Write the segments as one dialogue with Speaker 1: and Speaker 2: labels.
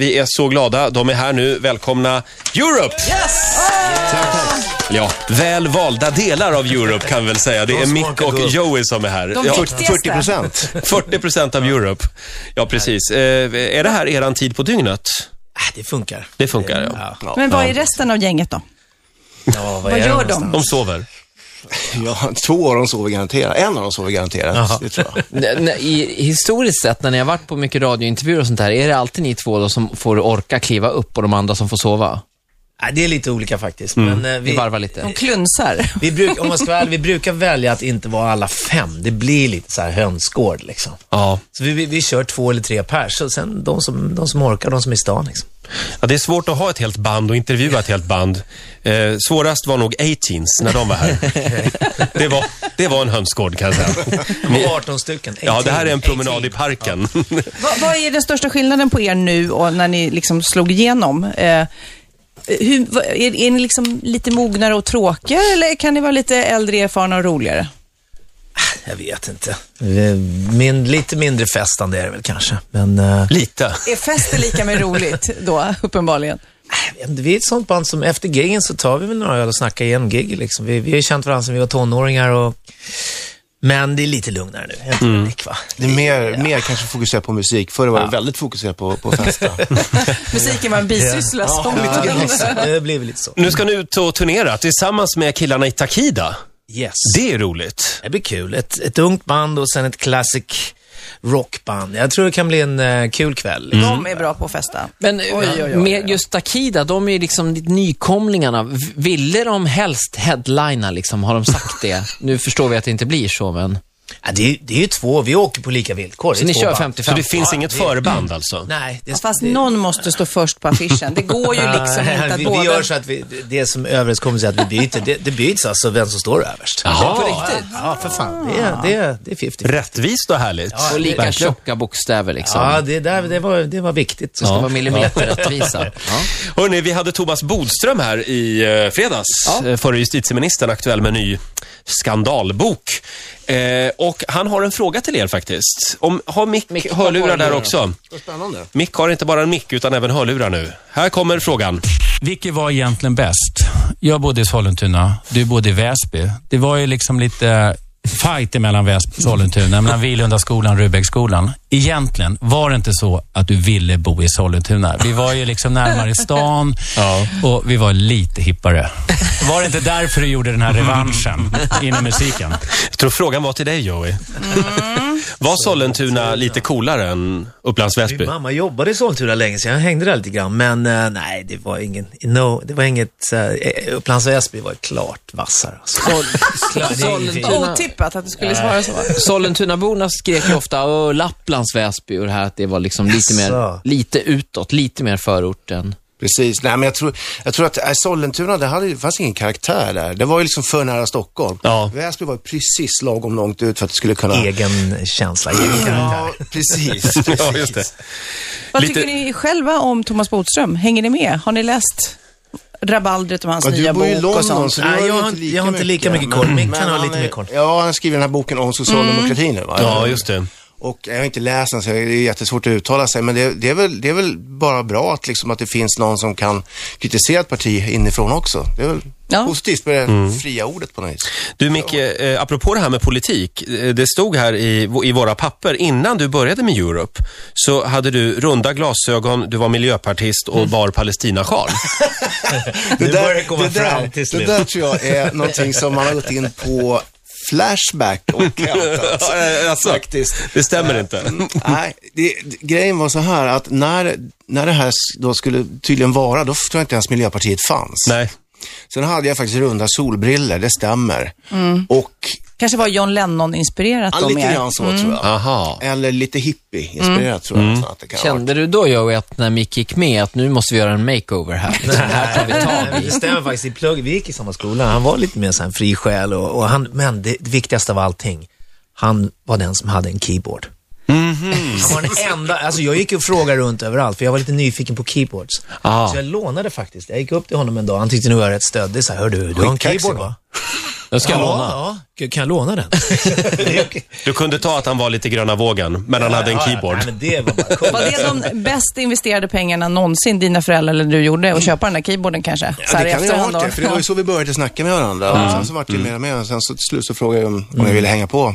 Speaker 1: Vi är så glada. De är här nu. Välkomna Europe!
Speaker 2: Yes!
Speaker 1: Eller Ja, väl valda delar av Europe kan vi väl säga. Det är Mick och Joey som är här.
Speaker 3: De
Speaker 1: Ja,
Speaker 3: viktigaste.
Speaker 4: 40 procent.
Speaker 1: 40 procent av Europe. Ja, precis. Eh, är det här eran tid på dygnet?
Speaker 2: Ah, Det funkar.
Speaker 1: Det funkar, ja.
Speaker 3: Men vad är resten av gänget då?
Speaker 2: Ja,
Speaker 3: Vad
Speaker 2: är det
Speaker 3: gör
Speaker 2: någonstans?
Speaker 3: de?
Speaker 1: De sover.
Speaker 4: Ja, två av dem sover garanterat. En av dem sover garanterat. Det tror jag.
Speaker 5: Nej, nej, i- Historiskt sett, när ni har varit på mycket radiointervjuer och sånt där, är det alltid ni två då som får orka kliva upp och de andra som får sova?
Speaker 2: Ah, Det är lite olika faktiskt.
Speaker 1: Mm.
Speaker 2: Men eh,
Speaker 5: Vi
Speaker 2: vi,
Speaker 5: varvar
Speaker 3: De
Speaker 5: lite.
Speaker 3: klunsar.
Speaker 2: vi bruk, om man ska vara ärlig, vi brukar välja att inte vara alla fem. Det blir lite så här hönsgård liksom.
Speaker 1: Ja.
Speaker 2: Så vi, vi, vi kör två eller tre per, så sen de som, de som orkar, de som är i stan liksom.
Speaker 1: ja. Det är svårt att ha ett helt band och intervjua ett helt band. Eh, svårast var nog 18s när de var här. det, var, det var en hönsgård, kan jag säga.
Speaker 2: De var 18 stycken.
Speaker 1: Ja, det här är en
Speaker 2: 18.
Speaker 1: promenad i parken.
Speaker 3: Vad, vad är den största skillnaden på er nu och när ni liksom slog igenom? Eh, hur, vad- är, är ni liksom lite mognare och tråkiga eller kan ni vara lite äldre, erfarna och roligare?
Speaker 2: Jag vet inte. Eh, Min, lite mindre festande är det väl kanske. Men eh,
Speaker 1: Lite.
Speaker 3: Är fester lika med roligt då, uppenbarligen?
Speaker 2: vi är ett sånt band som efter giggen så tar vi väl några öl och snackar igen gig liksom. Vi, vi har ju känt varandra sedan vi var tonåringar och... Men det är lite lugnare nu. Helt mm. va?
Speaker 4: Det är mer, mer kanske fokuserat på musik. Förr var det väldigt fokuserat på, på festa.
Speaker 3: Musiken var en bisyssla som
Speaker 2: Mm. Det blev lite så.
Speaker 1: Nu ska ni ut och turnera tillsammans med killarna i Takida.
Speaker 2: Yes.
Speaker 1: Det är roligt.
Speaker 2: Det blir kul. Ett, ett ungt band och sen ett classic rockband. Jag tror det kan bli en eh, kul kväll.
Speaker 3: De är bra på att festa.
Speaker 5: Men
Speaker 3: oj, oj,
Speaker 5: med just Takida, de är ju liksom nykomlingarna. V- Ville de helst headlina liksom? Har de sagt det? nu förstår vi att det inte blir så, men...
Speaker 2: Ja, det, är- det är ju två, vi åker på lika villkor. Det är
Speaker 5: Så ni
Speaker 2: två
Speaker 5: kör
Speaker 2: band.
Speaker 5: 50-50?
Speaker 1: Så det finns inget
Speaker 2: det-
Speaker 1: förband alltså?
Speaker 2: Nej, det
Speaker 3: Fast
Speaker 2: det-
Speaker 3: någon måste stå först på affischen. Det går ju liksom
Speaker 2: Nej,
Speaker 3: inte att
Speaker 2: vi,
Speaker 3: båda...
Speaker 2: vi gör så att vi, det som överenskommits är att vi byter. Det, det byts alltså vem som står överst.
Speaker 1: Jaha.
Speaker 2: På riktigt? Ja, för fan. Det, är- det, är- det är 50.
Speaker 1: Rättvist och härligt.
Speaker 5: Och lika
Speaker 1: Verkligen.
Speaker 5: tjocka bokstäver liksom.
Speaker 2: Ja, det, där, det, var, det var viktigt.
Speaker 5: Det ska vara millimeterrättvisa. ja.
Speaker 1: Hörrni, vi hade Thomas Bodström här i eh, fredags. Ja. Förre justitieministern, aktuell med en ny skandalbok. Eh, och han har en fråga till er faktiskt. Om, har Mick, hörlurar där också?
Speaker 4: Vad spännande.
Speaker 1: Mick har inte bara en mick utan även hörlurar nu. Här kommer frågan.
Speaker 6: Vilket var egentligen bäst? Jag bodde i Sollentuna, du bodde i Väsby. Det var ju liksom lite fight mellan Väsby och Sollentuna, mellan Vilundaskolan och Rudbecksskolan. Egentligen var det inte så att du ville bo i Sollentuna. Vi var ju liksom närmare stan och vi var lite hippare. Var det inte därför du gjorde den här revanschen inom musiken?
Speaker 1: Jag tror frågan var till dig Joey. Var Sollentuna lite coolare än Upplands Väsby?
Speaker 2: Min mamma jobbade i Sollentuna länge, så jag hängde där lite grann. Men eh, nej, det var, ingen, no, det var inget... Uh, Upplands Väsby var klart vassare. Alltså.
Speaker 5: Sollentuna-
Speaker 3: Otippat att du skulle svara så.
Speaker 5: Sollentunaborna skrek ju ofta "Åh, Lapplands Väsby och det här att det var liksom lite mer,
Speaker 2: Jaså.
Speaker 5: lite utåt, lite mer förorten.
Speaker 4: Precis. Nej, men jag tror, jag tror att äh, Sollentuna, det, hade, det fanns ingen karaktär där. Det var ju liksom för nära Stockholm.
Speaker 1: Ja.
Speaker 4: Väsby var ju precis lagom långt ut för att det skulle kunna...
Speaker 2: Egen känsla, egen karaktär.
Speaker 4: Ja, precis. precis.
Speaker 1: Ja, just det.
Speaker 3: Vad
Speaker 1: Lite-
Speaker 3: tycker ni själva om Thomas Bodström? Hänger ni med? Har ni läst rabaldret om hans
Speaker 2: Alltså,
Speaker 3: nya
Speaker 4: Ja, du bor ju i
Speaker 3: bok och
Speaker 4: London,
Speaker 3: sånt?
Speaker 4: så du
Speaker 2: Nej,
Speaker 4: ju
Speaker 2: jag har inte- jag har inte lika mycket koll. Min kan
Speaker 4: men
Speaker 2: ha lite
Speaker 4: han är-
Speaker 2: mer koll. Mm.
Speaker 4: Ja, han skriver den här boken om socialdemokratin nu, va?
Speaker 1: Ja, just det.
Speaker 4: Och jag har inte läst den så det är jättesvårt att uttala sig, men det, det, är, väl, det är väl bara bra att, liksom, att det finns någon som kan kritisera ett parti inifrån också. Det är väl
Speaker 3: Ja.
Speaker 4: positivt med det
Speaker 2: Mm.
Speaker 4: fria ordet på något vis.
Speaker 1: Du Micke, eh, apropå det här med politik. eh, Det stod här i, i våra papper, innan du började med Europe, så hade du runda glasögon, du var miljöpartist och bar palestinasjal.
Speaker 2: Nu börjar det komma fram till
Speaker 4: det
Speaker 2: slut.
Speaker 4: där tror jag är någonting som man har gått in på Flashback och hämtat.
Speaker 1: Alltså, Det stämmer inte.
Speaker 4: Nej, det, det- grejen var så här att när, när det här s- då skulle tydligen vara, då tror jag inte ens Miljöpartiet fanns.
Speaker 1: Nej.
Speaker 4: Sen hade jag faktiskt runda solbriller, det stämmer. Och
Speaker 3: Kanske var John Lennon-inspirerat
Speaker 4: ja,
Speaker 3: då
Speaker 4: lite
Speaker 3: mer.
Speaker 4: grann så tror jag.
Speaker 1: Aha.
Speaker 4: Eller lite hippie-inspirerat tror jag. nästan Att det kan ha varit.
Speaker 5: Kände du då Joey att när Mick gick med att nu måste vi göra en makeover här? Liksom, det här tar vi
Speaker 2: Nej,
Speaker 5: tag
Speaker 2: Det
Speaker 5: i.
Speaker 2: stämmer faktiskt. I plugg, vi gick i samma skola. Han var lite mer så här en fri själ och, och han, men det, det viktigaste av allting, han var den som hade en keyboard. Han var den enda, alltså jag gick och frågade runt överallt för jag var lite nyfiken på keyboards.
Speaker 5: Ah.
Speaker 2: Så jag lånade faktiskt, jag gick upp till honom en dag, han tyckte nog jag var rätt stöddig. Så här, hör du, du har en
Speaker 4: Skitkaxig,
Speaker 2: keyboard
Speaker 4: va?"
Speaker 2: va?
Speaker 5: Jag ska
Speaker 2: ja,
Speaker 5: låna.
Speaker 2: Ja, Gud, kan jag låna den? Det är okej.
Speaker 1: Du kunde ta att han var lite gröna vågen, men han hade en
Speaker 2: Ja, ja,
Speaker 1: keyboard.
Speaker 2: Nej, men det var bara coolt.
Speaker 3: Var det de bäst investerade pengarna någonsin dina föräldrar eller du gjorde att köpa den där keyboarden kanske? Så
Speaker 4: Mm. Ja,
Speaker 3: här
Speaker 4: det
Speaker 3: i
Speaker 4: kan ju ha
Speaker 3: efterhand
Speaker 4: varit det,
Speaker 3: då?
Speaker 4: för det var ju så vi började snacka med varandra. Och sen så vart det mer och mer och sen så till slut så frågade jag om, om jag ville hänga på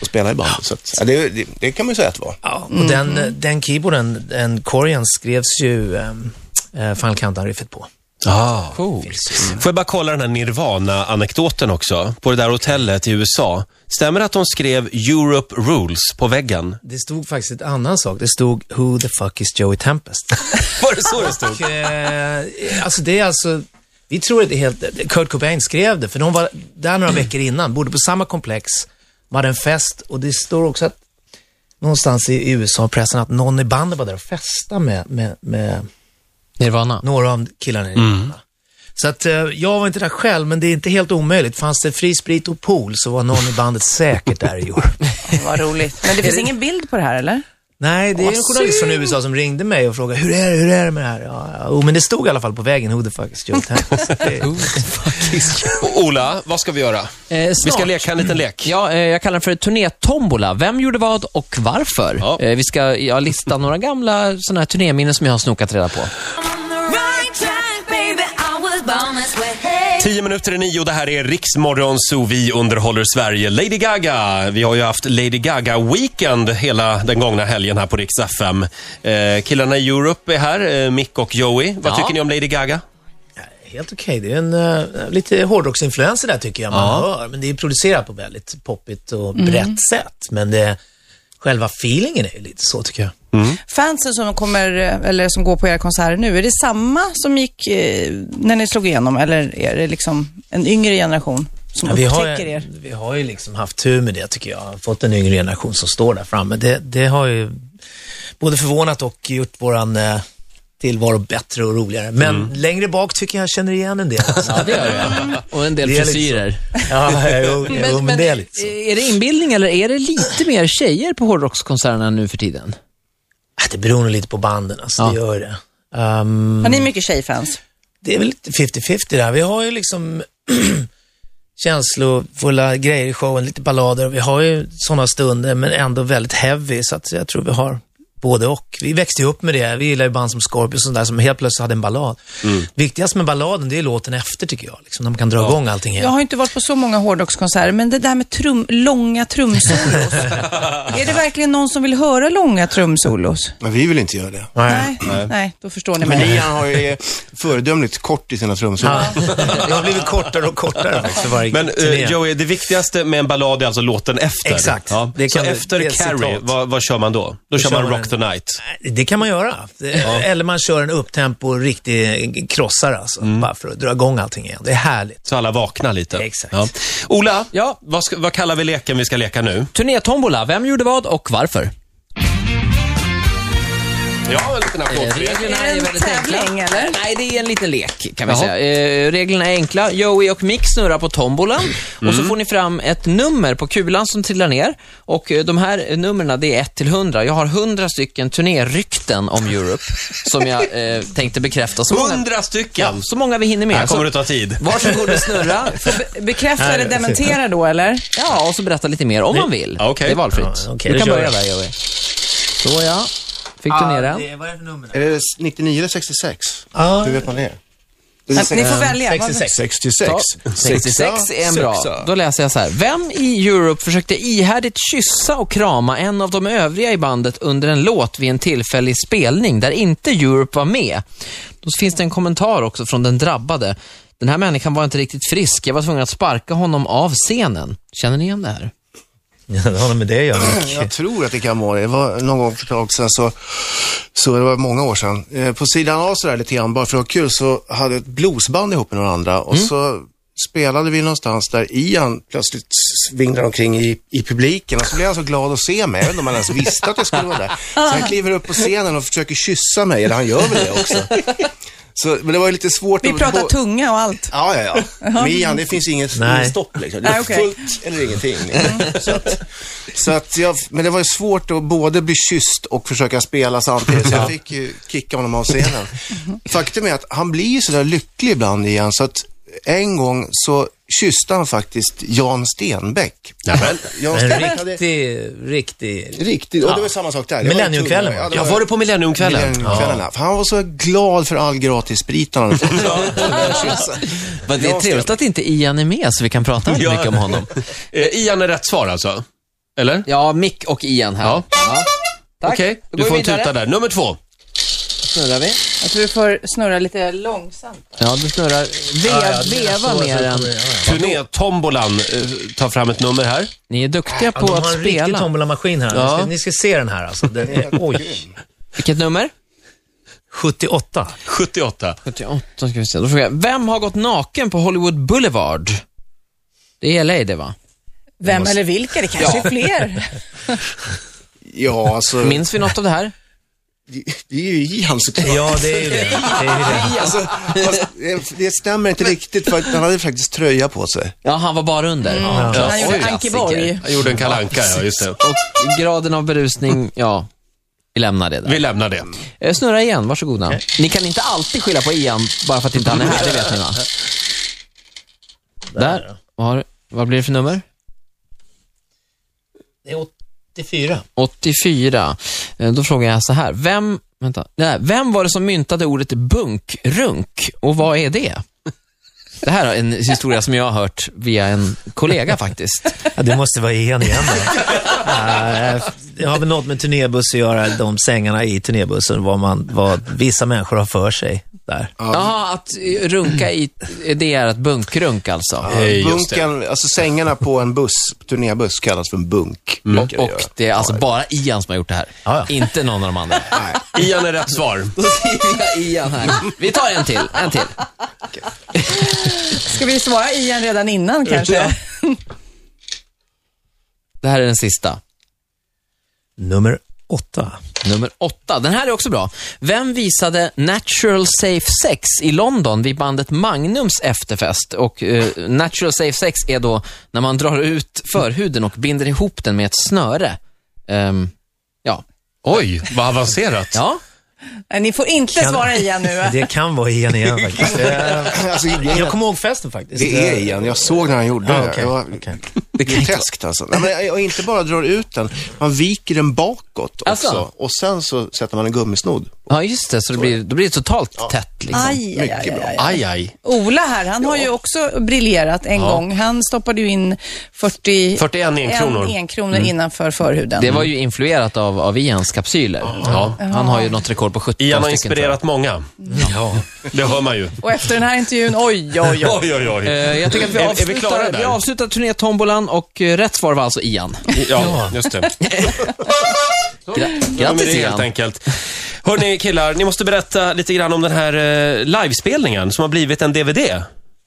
Speaker 4: och spela i bandet. Så att, ja, det, det, det kan man ju säga att det var.
Speaker 2: Ja, och
Speaker 3: Mm.
Speaker 2: den, den keyboarden, den korgen skrevs ju ehm, eh, Final Countdown-riffet på.
Speaker 1: Ah.
Speaker 5: Coolt.
Speaker 1: Får jag bara kolla den här Nirvana-anekdoten också, på det där hotellet i USA. Stämmer det att de skrev “Europe Rules” på väggen?
Speaker 2: Det stod faktiskt ett annan sak. Det stod Who the fuck is Joey Tempest?
Speaker 1: Var det så det stod?
Speaker 2: Och, eh, alltså det är alltså, vi tror att det är helt, Kurt Cobain skrev det, för de var där några veckor innan, bodde på samma komplex, de hade en fest och det står också att någonstans i USA-pressen att någon i bandet var där och festade med, med, med
Speaker 5: Nirvana.
Speaker 2: några av killarna i mm. Så att eh, jag var inte där själv, men det är inte helt omöjligt. Fanns det fri sprit och pool så var någon i bandet säkert där i år.
Speaker 3: Vad roligt. Men det finns ingen bild på det här eller?
Speaker 2: Nej, det är en journalist från USA som ringde mig och frågade hur är det, hur är det med det här? Ja, ja. Oh, men det stod i alla fall på vägen, who the fuck is Joe Tempest? Det-
Speaker 1: Ola, vad ska vi göra?
Speaker 5: Eh,
Speaker 1: Vi ska
Speaker 5: snart.
Speaker 1: leka en liten lek.
Speaker 5: Ja, eh, jag kallar den för turnétombola. Vem gjorde vad och varför?
Speaker 1: Ja.
Speaker 5: Eh, vi ska ja, lista några gamla såna här turnéminnen som jag har snokat reda på.
Speaker 7: On the right track, baby, I was born this way. Hey.
Speaker 1: Tio minuter i nio, det här är Riksmorgon Zoo, vi underhåller Sverige. Lady Gaga, vi har ju haft Lady Gaga-weekend hela den gångna helgen här på Rix FM. Eh, killarna i Europe är här, eh, Mick och Joey. Vad
Speaker 5: Ja.
Speaker 1: tycker ni om Lady Gaga?
Speaker 2: Helt okej, det är en eh, lite hårdrocksinfluencer där tycker jag man hör. Men det är producerat på väldigt poppigt och brett sätt. Men det, själva feelingen är ju lite så tycker jag.
Speaker 3: Fansen som kommer, eh, eller som går på era konserter nu, är det samma som gick eh, när ni slog igenom eller är det liksom en yngre generation som
Speaker 2: Ja, vi, har,
Speaker 3: upptäcker er?
Speaker 2: vi har ju liksom haft tur med det tycker jag. Fått en yngre generation som står där framme. Det, det har ju både förvånat och gjort våran eh, tillvaro bättre och roligare. Men längre bak tycker jag jag känner igen en del.
Speaker 5: Mm. Ja, det gör jag. Och en del
Speaker 2: Det är liksom- lite
Speaker 5: frisyrer.
Speaker 2: ja, jo, jo, men det är lite så.
Speaker 5: är det inbildning eller är det lite mer tjejer på hårdrockskonserterna nu för tiden?
Speaker 2: Ah, Det beror nog lite på banden, alltså det gör det. Ehm,
Speaker 3: Har ni mycket tjejfans?
Speaker 2: det är väl lite 50-50 där. Vi har ju liksom känslofulla grejer i showen, lite ballader och vi har ju sådana stunder men ändå väldigt heavy så att jag tror vi har både och. Vi växte ju upp med det. Vi gillar ju band som Scorpions och där som helt plötsligt hade en ballad.
Speaker 1: Mm.
Speaker 2: Viktigast med balladen, det är låten efter tycker jag. Liksom, när man kan dra igång allting igen.
Speaker 3: Jag har inte varit på så många hårdrockskonserter, men det där med trum, långa trumsolos. är det verkligen någon som vill höra långa trumsolos?
Speaker 4: Men vi vill inte göra det.
Speaker 2: Nej.
Speaker 3: Nej, nej. då förstår ni
Speaker 4: Men
Speaker 3: mig.
Speaker 4: Ian har ju är föredömligt kort i sina trumsolon.
Speaker 2: Ja. Det har blivit kortare och kortare faktiskt för varje
Speaker 1: Men
Speaker 2: turné.
Speaker 1: eh, Joey, det viktigaste med en ballad är alltså låten efter.
Speaker 2: Exakt.
Speaker 1: Ja.
Speaker 2: Det
Speaker 1: Så
Speaker 2: kan- det
Speaker 1: efter
Speaker 2: är ett
Speaker 1: Carrie,
Speaker 2: citat.
Speaker 1: vad, vad kör man då? Då, kör man
Speaker 2: kör
Speaker 1: Rock
Speaker 2: man
Speaker 1: the
Speaker 2: en-
Speaker 1: Night.
Speaker 2: Det kan man göra. Det- Eller man kör en upptempo, riktig krossare alltså.
Speaker 1: Mm.
Speaker 2: Bara för att dra igång allting igen. Det är härligt.
Speaker 1: Så alla vaknar lite.
Speaker 2: Exakt.
Speaker 1: Ola,
Speaker 5: Ja.
Speaker 1: vad, ska, vad kallar vi leken vi ska leka nu?
Speaker 5: Turnétombola, vem gjorde vad och varför?
Speaker 1: Ja, en liten applåd för det.
Speaker 5: Reglerna
Speaker 3: Är det en tävling, eller?
Speaker 5: Nej, det är en liten lek kan vi säga. Eh, reglerna är enkla. Joey och Mick snurrar på tombolan och så får ni fram ett nummer på kulan som trillar ner. Och eh, de här eh, numren, det är 1 till 100. Jag har 100 stycken turnérykten om Europe som jag eh, tänkte bekräfta. Så många,
Speaker 1: Hundra
Speaker 5: ja,
Speaker 1: stycken.
Speaker 5: så många vi hinner med.
Speaker 1: Här kommer det
Speaker 5: så,
Speaker 1: ta tid.
Speaker 5: varsågod och snurra. Få be-
Speaker 3: Bekräfta eller dementera då, eller?
Speaker 5: Ja, och så berätta lite mer om man vill.
Speaker 1: Ja, okej.
Speaker 5: Det är valfritt.
Speaker 2: Ja, okej,
Speaker 5: du
Speaker 2: då
Speaker 5: kan
Speaker 2: kör
Speaker 5: börja
Speaker 2: vi.
Speaker 5: där Joey. Så ja, fick du ner den.
Speaker 2: vad är Ah, det för nummer?
Speaker 4: Är det 99 eller 66?
Speaker 2: Ja.
Speaker 4: Hur vet man det?
Speaker 3: Ni får välja.
Speaker 2: 66.
Speaker 4: 66.
Speaker 5: Ja, 66 är en bra.
Speaker 4: Sexa.
Speaker 5: Då läser jag så här. Vem i Europe försökte ihärdigt kyssa och krama en av de övriga i bandet under en låt vid en tillfällig spelning där inte Europe var med? Då finns det en kommentar också från den drabbade. Den här människan var inte riktigt frisk. Jag var tvungen att sparka honom av scenen. Känner ni igen det här?
Speaker 2: Ja, det har nog med det att göra.
Speaker 4: Jag tror att det kan vara det. Det var någon gång för ett tag sedan, så, så det var många år sedan. Eh, på sidan av sådär lite grann, bara för att ha kul, så hade ett bluesband ihop med några andra och
Speaker 3: Mm.
Speaker 4: så spelade vi någonstans där Ian plötsligt vinglar omkring i, i publiken och så blev han så glad att se mig. Jag vet inte om han ens visste att jag skulle vara där. Så han kliver upp på scenen och försöker kyssa mig, eller han gör väl det också. Så, men det var ju lite svårt.
Speaker 3: Vi
Speaker 4: att-
Speaker 3: pratar
Speaker 4: på-
Speaker 3: tunga och allt.
Speaker 4: Ja, ja, ja. Med Ian, det finns inget
Speaker 2: Nej.
Speaker 4: inget stopp liksom. Det är
Speaker 3: Nej, okej.
Speaker 4: fullt eller ingenting. Så att, så att jag, men det var ju svårt att både bli kysst och försöka spela samtidigt. Så jag fick ju kicka honom av scenen. Faktum är att han blir ju sådär lycklig ibland igen, så att en gång så kysste han faktiskt Jan Stenbeck.
Speaker 1: Nämen.
Speaker 4: Jan
Speaker 2: En
Speaker 4: Stenbeck hade...
Speaker 2: riktig, riktig...
Speaker 4: Riktigt, och det var samma sak där. Det var en
Speaker 2: Millenniumkvällen,
Speaker 4: tunga-
Speaker 2: va?
Speaker 4: det
Speaker 1: Jag var det på Millenniumkvällen.
Speaker 4: Millenniumkvällarna. För han var så glad för all gratissprit han hade fått.
Speaker 5: Vad Det är
Speaker 4: Ja,
Speaker 5: trevligt att inte Ian är med så vi kan prata
Speaker 1: Ja.
Speaker 5: mycket om honom.
Speaker 1: Eh, Ian är rätt svar alltså? Eller?
Speaker 5: Ja, Mick och Ian här.
Speaker 1: Ja.
Speaker 5: Tack.
Speaker 1: Okej,
Speaker 5: Då
Speaker 1: du
Speaker 5: går
Speaker 1: får
Speaker 5: vi
Speaker 1: en
Speaker 5: vidare.
Speaker 1: tuta där. Nummer två.
Speaker 5: Snurrar vi?
Speaker 3: Jag tror du får snurra lite långsamt.
Speaker 5: Ja, du snurrar. Ve veva ner den.
Speaker 1: Turnétombolan eh, tar fram ett nummer här.
Speaker 5: Ni är duktiga
Speaker 2: Ja, de
Speaker 5: på
Speaker 2: har
Speaker 5: att
Speaker 2: en riktig
Speaker 5: spela.
Speaker 2: tombolamaskin här.
Speaker 1: Ja.
Speaker 2: Ni, ska, ni ska se den här alltså. Den är, oj,
Speaker 5: Vilket nummer?
Speaker 2: 78.
Speaker 1: 78.
Speaker 5: 78 ska vi se. Då frågar jag, vem har gått naken på Hollywood Boulevard? Det är LA det va?
Speaker 3: Vem eller vilka? Det kanske är fler.
Speaker 4: Ja, alltså,
Speaker 5: Minns vi något av det här?
Speaker 4: det, det är ju Ian såklart.
Speaker 2: Ja, det är ju det. det, är ju det.
Speaker 4: Alltså, fast det, det stämmer inte riktigt för att han hade faktiskt tröja på sig.
Speaker 5: Ja, han var bara under. Ja.
Speaker 3: Han gjorde Ankeborg.
Speaker 1: Jag gjorde en kalanka, ja just det.
Speaker 5: Och graden av berusning, ja. Vi lämnar det där.
Speaker 1: Vi lämnar det.
Speaker 5: Eh, Snurra igen, varsågoda. Ni kan inte alltid skylla på Ian bara för att inte han är här, det vet ni va? Där. Vad, har, vad blir det för nummer?
Speaker 2: det är 84.
Speaker 5: 84. Eh, Då frågar jag så här. Vem, vänta, nej, vem var det som myntade ordet bunkrunk och vad är det? Det här är en historia som jag har hört via en kollega faktiskt.
Speaker 2: Ja, det måste vara Ian igen då. Eh, Det har väl något med turnébuss att göra, de sängarna i turnébussen, vad, man, vad vissa människor har för sig där.
Speaker 5: Jaha, att eh, runka i, det är att bunkrunk alltså.
Speaker 1: Eh, just det.
Speaker 4: Bunken, alltså sängarna på en buss, turnébuss kallas för en bunk.
Speaker 5: Och, Mm. och det är alltså bara Ian som har gjort det här.
Speaker 2: Ja, ja.
Speaker 5: Inte någon av de andra.
Speaker 1: Ian är rätt svar.
Speaker 5: Då skriver jag Ian här. Vi tar en till, en till.
Speaker 3: Ska vi svara Ian redan innan kanske?
Speaker 5: Det här är den sista.
Speaker 2: Nummer åtta.
Speaker 5: Nummer åtta. Den här är också bra. Vem visade Natural Safe Sex i London vid bandet Magnums efterfest? Och eh, Natural Safe Sex är då när man drar ut förhuden och binder ihop den med ett snöre. Ehm, ja.
Speaker 1: Oj, vad avancerat.
Speaker 5: Ja.
Speaker 3: Nej, ni får inte svara Ian nu. va?
Speaker 2: Det kan vara Ian igen faktiskt. Eh,
Speaker 4: Alltså, det,
Speaker 2: Jag kommer ihåg festen faktiskt.
Speaker 4: det är Ian, jag såg när han gjorde
Speaker 2: Ja,
Speaker 4: det.
Speaker 2: Ah, okej,
Speaker 4: det. Var,
Speaker 2: okej.
Speaker 4: Det är test alltså. Nej, men, och inte bara drar ut den, man viker den bakåt också.
Speaker 5: Alltså?
Speaker 4: Och sen så sätter man en gummisnodd.
Speaker 5: ja, just det. Så det blir, då blir det totalt tätt liksom.
Speaker 3: Aj, aj, aj, aj.
Speaker 1: Aj, aj.
Speaker 3: Ola här, han har ju också briljerat en gång. Han stoppade ju in 40,
Speaker 1: 41 enkronor.
Speaker 3: en kronor innanför förhuden.
Speaker 5: Det var ju influerat av, av Ians kapsyler. Ja. Han har ju något rekord på 17
Speaker 1: Ian har
Speaker 5: stycken. tror jag.
Speaker 1: inspirerat många.
Speaker 2: Ja.
Speaker 1: Det hör man ju.
Speaker 3: Och efter den här intervjun, oj, oj, oj.
Speaker 1: Oj, oj,
Speaker 5: Eh,
Speaker 1: oj.
Speaker 5: jag tycker att vi
Speaker 1: Är- är vi
Speaker 5: avslutar,
Speaker 1: klara där?
Speaker 5: vi avslutar turnétombolan och eh, rätt svar var alltså Ian.
Speaker 1: Ja, just det.
Speaker 5: Gra-
Speaker 1: Ja, men
Speaker 5: grattis
Speaker 1: det är helt
Speaker 5: Ian.
Speaker 1: enkelt. Hörni killar, ni måste berätta lite grann om den här eh, livespelningen som har blivit en DVD.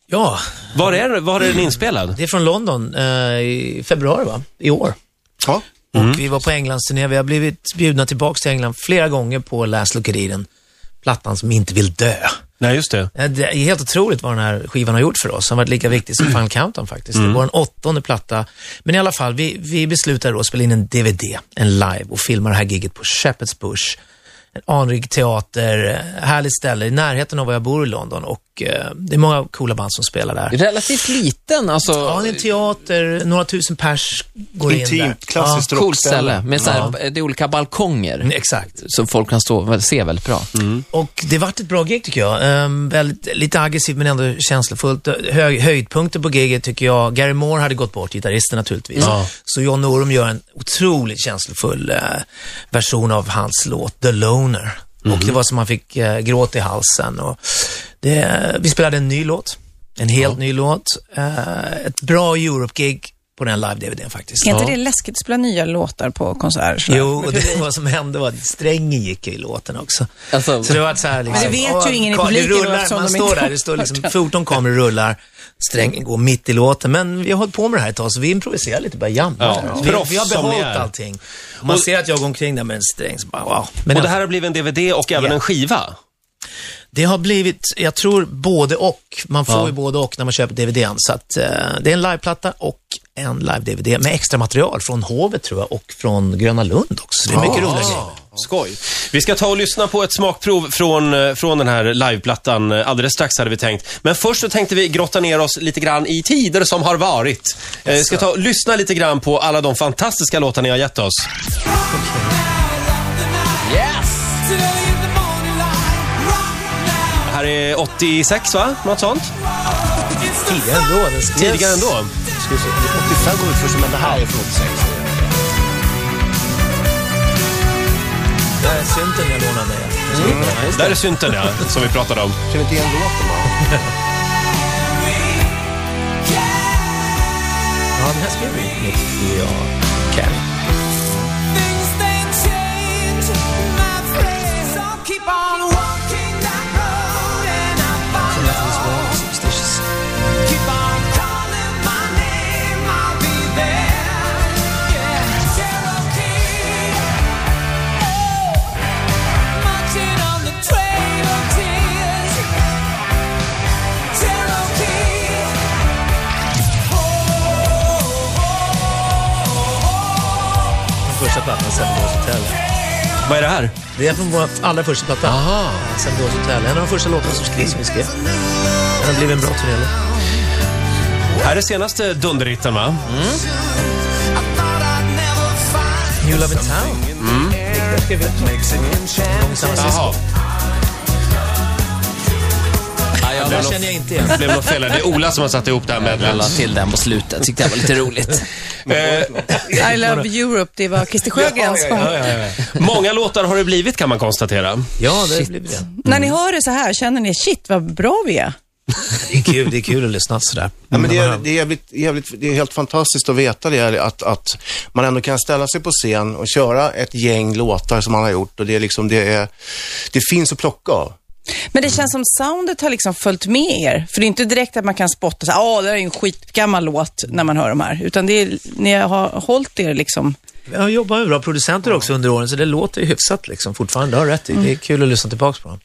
Speaker 2: ja,
Speaker 1: Var är, var är den inspelad?
Speaker 2: det är från London eh, i februari va? I år.
Speaker 4: Ja.
Speaker 2: Och vi var på Englandsturné. Vi har blivit bjudna tillbaka till England flera gånger på Last Look at Eden, plattan som inte vill dö.
Speaker 1: Nej, just det.
Speaker 2: Eh, Det är helt otroligt vad den här skivan har gjort för oss. Den har varit lika viktig som Final Countdown faktiskt.
Speaker 4: Mm.
Speaker 2: Det var en åttonde platta. Men i alla fall, vi, vi beslutade då att spela in en DVD, en live, och filma det här giget på Shepherd's Bush. En anrik teater, eh, härligt ställe i närheten av var jag bor i London och eh, det är många coola band som spelar där.
Speaker 5: Relativt liten, alltså.
Speaker 2: Ja, det är en teater, några tusen pers går in där.
Speaker 4: Intimt, klassiskt
Speaker 5: Coolt Ah, ställe.
Speaker 4: rockställe.
Speaker 5: Med så här, Det är olika balkonger
Speaker 2: Mm, Exakt.
Speaker 5: som folk kan stå och se väldigt bra.
Speaker 2: Mm. Och det vart ett bra gig tycker jag. Ehm, väldigt, lite aggressivt men ändå känslofullt. Hö, höjdpunkten på giget tycker jag, Gary Moore hade gått bort, gitarristen naturligtvis. Så John Norum gör en otroligt känslofull eh, version av hans låt The Loner. Och det var som man fick eh, gråt i halsen. Och det, vi spelade en ny låt, en helt ny låt. Eh, ett bra Europe-gig på den live-DVDn faktiskt.
Speaker 3: Är inte det läskigt att spela nya låtar på konserter? sådär?
Speaker 2: Jo, och det, vad som hände var att strängen gick i låten också.
Speaker 5: Alltså,
Speaker 2: Så det var så här liksom,
Speaker 3: Men det vet ju
Speaker 2: åh,
Speaker 3: ingen i
Speaker 2: ka- det
Speaker 3: publiken då,
Speaker 2: rullar,
Speaker 3: eftersom
Speaker 2: Man
Speaker 3: de
Speaker 2: står
Speaker 3: inte
Speaker 2: där,
Speaker 3: har
Speaker 2: det står liksom 14 kameror rullar, strängen går mitt i låten. Men vi har hållit på med det här ett tag, så vi improviserar lite, bara jammar.
Speaker 1: Ja,
Speaker 2: där.
Speaker 1: proffs
Speaker 2: vi, vi har
Speaker 1: som ni
Speaker 2: behållit
Speaker 1: är.
Speaker 2: allting. Och Man ser att jag går omkring där med en sträng, så bara wow. Men
Speaker 1: Och det här har blivit en DVD och även
Speaker 2: Ja.
Speaker 1: en skiva.
Speaker 2: det har blivit, jag tror, både och. Man får ju både och när man köper DVDn. Så att, eh, det är en liveplatta och en live-DVD med extra material från Hovet tror jag och från Gröna Lund också. Det är mycket roliga grejer.
Speaker 1: Skoj. Vi ska ta och lyssna på ett smakprov från, eh, från den här liveplattan eh, alldeles strax hade vi tänkt. Men först så tänkte vi grotta ner oss lite grann i tider som har varit. Eh, Vi ska ta och lyssna lite grann på alla de fantastiska låtar ni har gett oss. Det här är 86 va? Något sånt?
Speaker 2: Tidigare ändå. Den skrevs...
Speaker 1: Tidigare ändå.
Speaker 2: Ska vi se, 85 går ut först, men det här är från 86. Det här är synten jag lånade.
Speaker 1: Där är synten ja, som vi pratade om.
Speaker 4: Känner inte igen låten va?
Speaker 2: Ja, den här skrev vi. 90 och Kelly. Den första plattan, Cellulos Hotel.
Speaker 1: Vad är det här?
Speaker 2: Det är från vår allra första platta. Aha. Cellulos Hotel. En av de första låtarna som skrevs som vi skrev. Den har blivit en bra turné.
Speaker 1: Här är senaste dunderhitten va?
Speaker 2: New Love in Town. Den skrev vi också. En gång i San Francisco.
Speaker 1: Jaha,
Speaker 5: Ja, jag
Speaker 2: Den
Speaker 5: la
Speaker 2: känner jag inte igen.
Speaker 1: det blev något fel här. Det är Ola som har satt ihop det här med
Speaker 5: la till den på slutet. Tyckte jag var lite roligt.
Speaker 1: eh,
Speaker 3: I love Europe, det var Christer Sjögrens sång.
Speaker 1: Många låtar har det blivit kan man konstatera.
Speaker 2: Ja, det blir det.
Speaker 3: När ni hör det så här, känner ni shit vad bra vi är?
Speaker 2: Det är kul, det är kul att lyssna sådär.
Speaker 4: Ja, men det, är, det, är jävligt, jävligt, det är helt fantastiskt att veta det, här, att, att man ändå kan ställa sig på scen och köra ett gäng låtar som man har gjort och det, är liksom, det, är, det finns att plocka av.
Speaker 3: Men det känns som soundet har liksom följt med er. För det är inte direkt att man kan spotta så här, "Ah, det där är ju en skitgammal låt när man hör de här. Utan det är, ni har hållit er liksom.
Speaker 2: Jag jobbar med bra producenter också under åren, så det låter ju hyfsat liksom fortfarande. Du har rätt i. Det är kul att lyssna tillbaka på dem.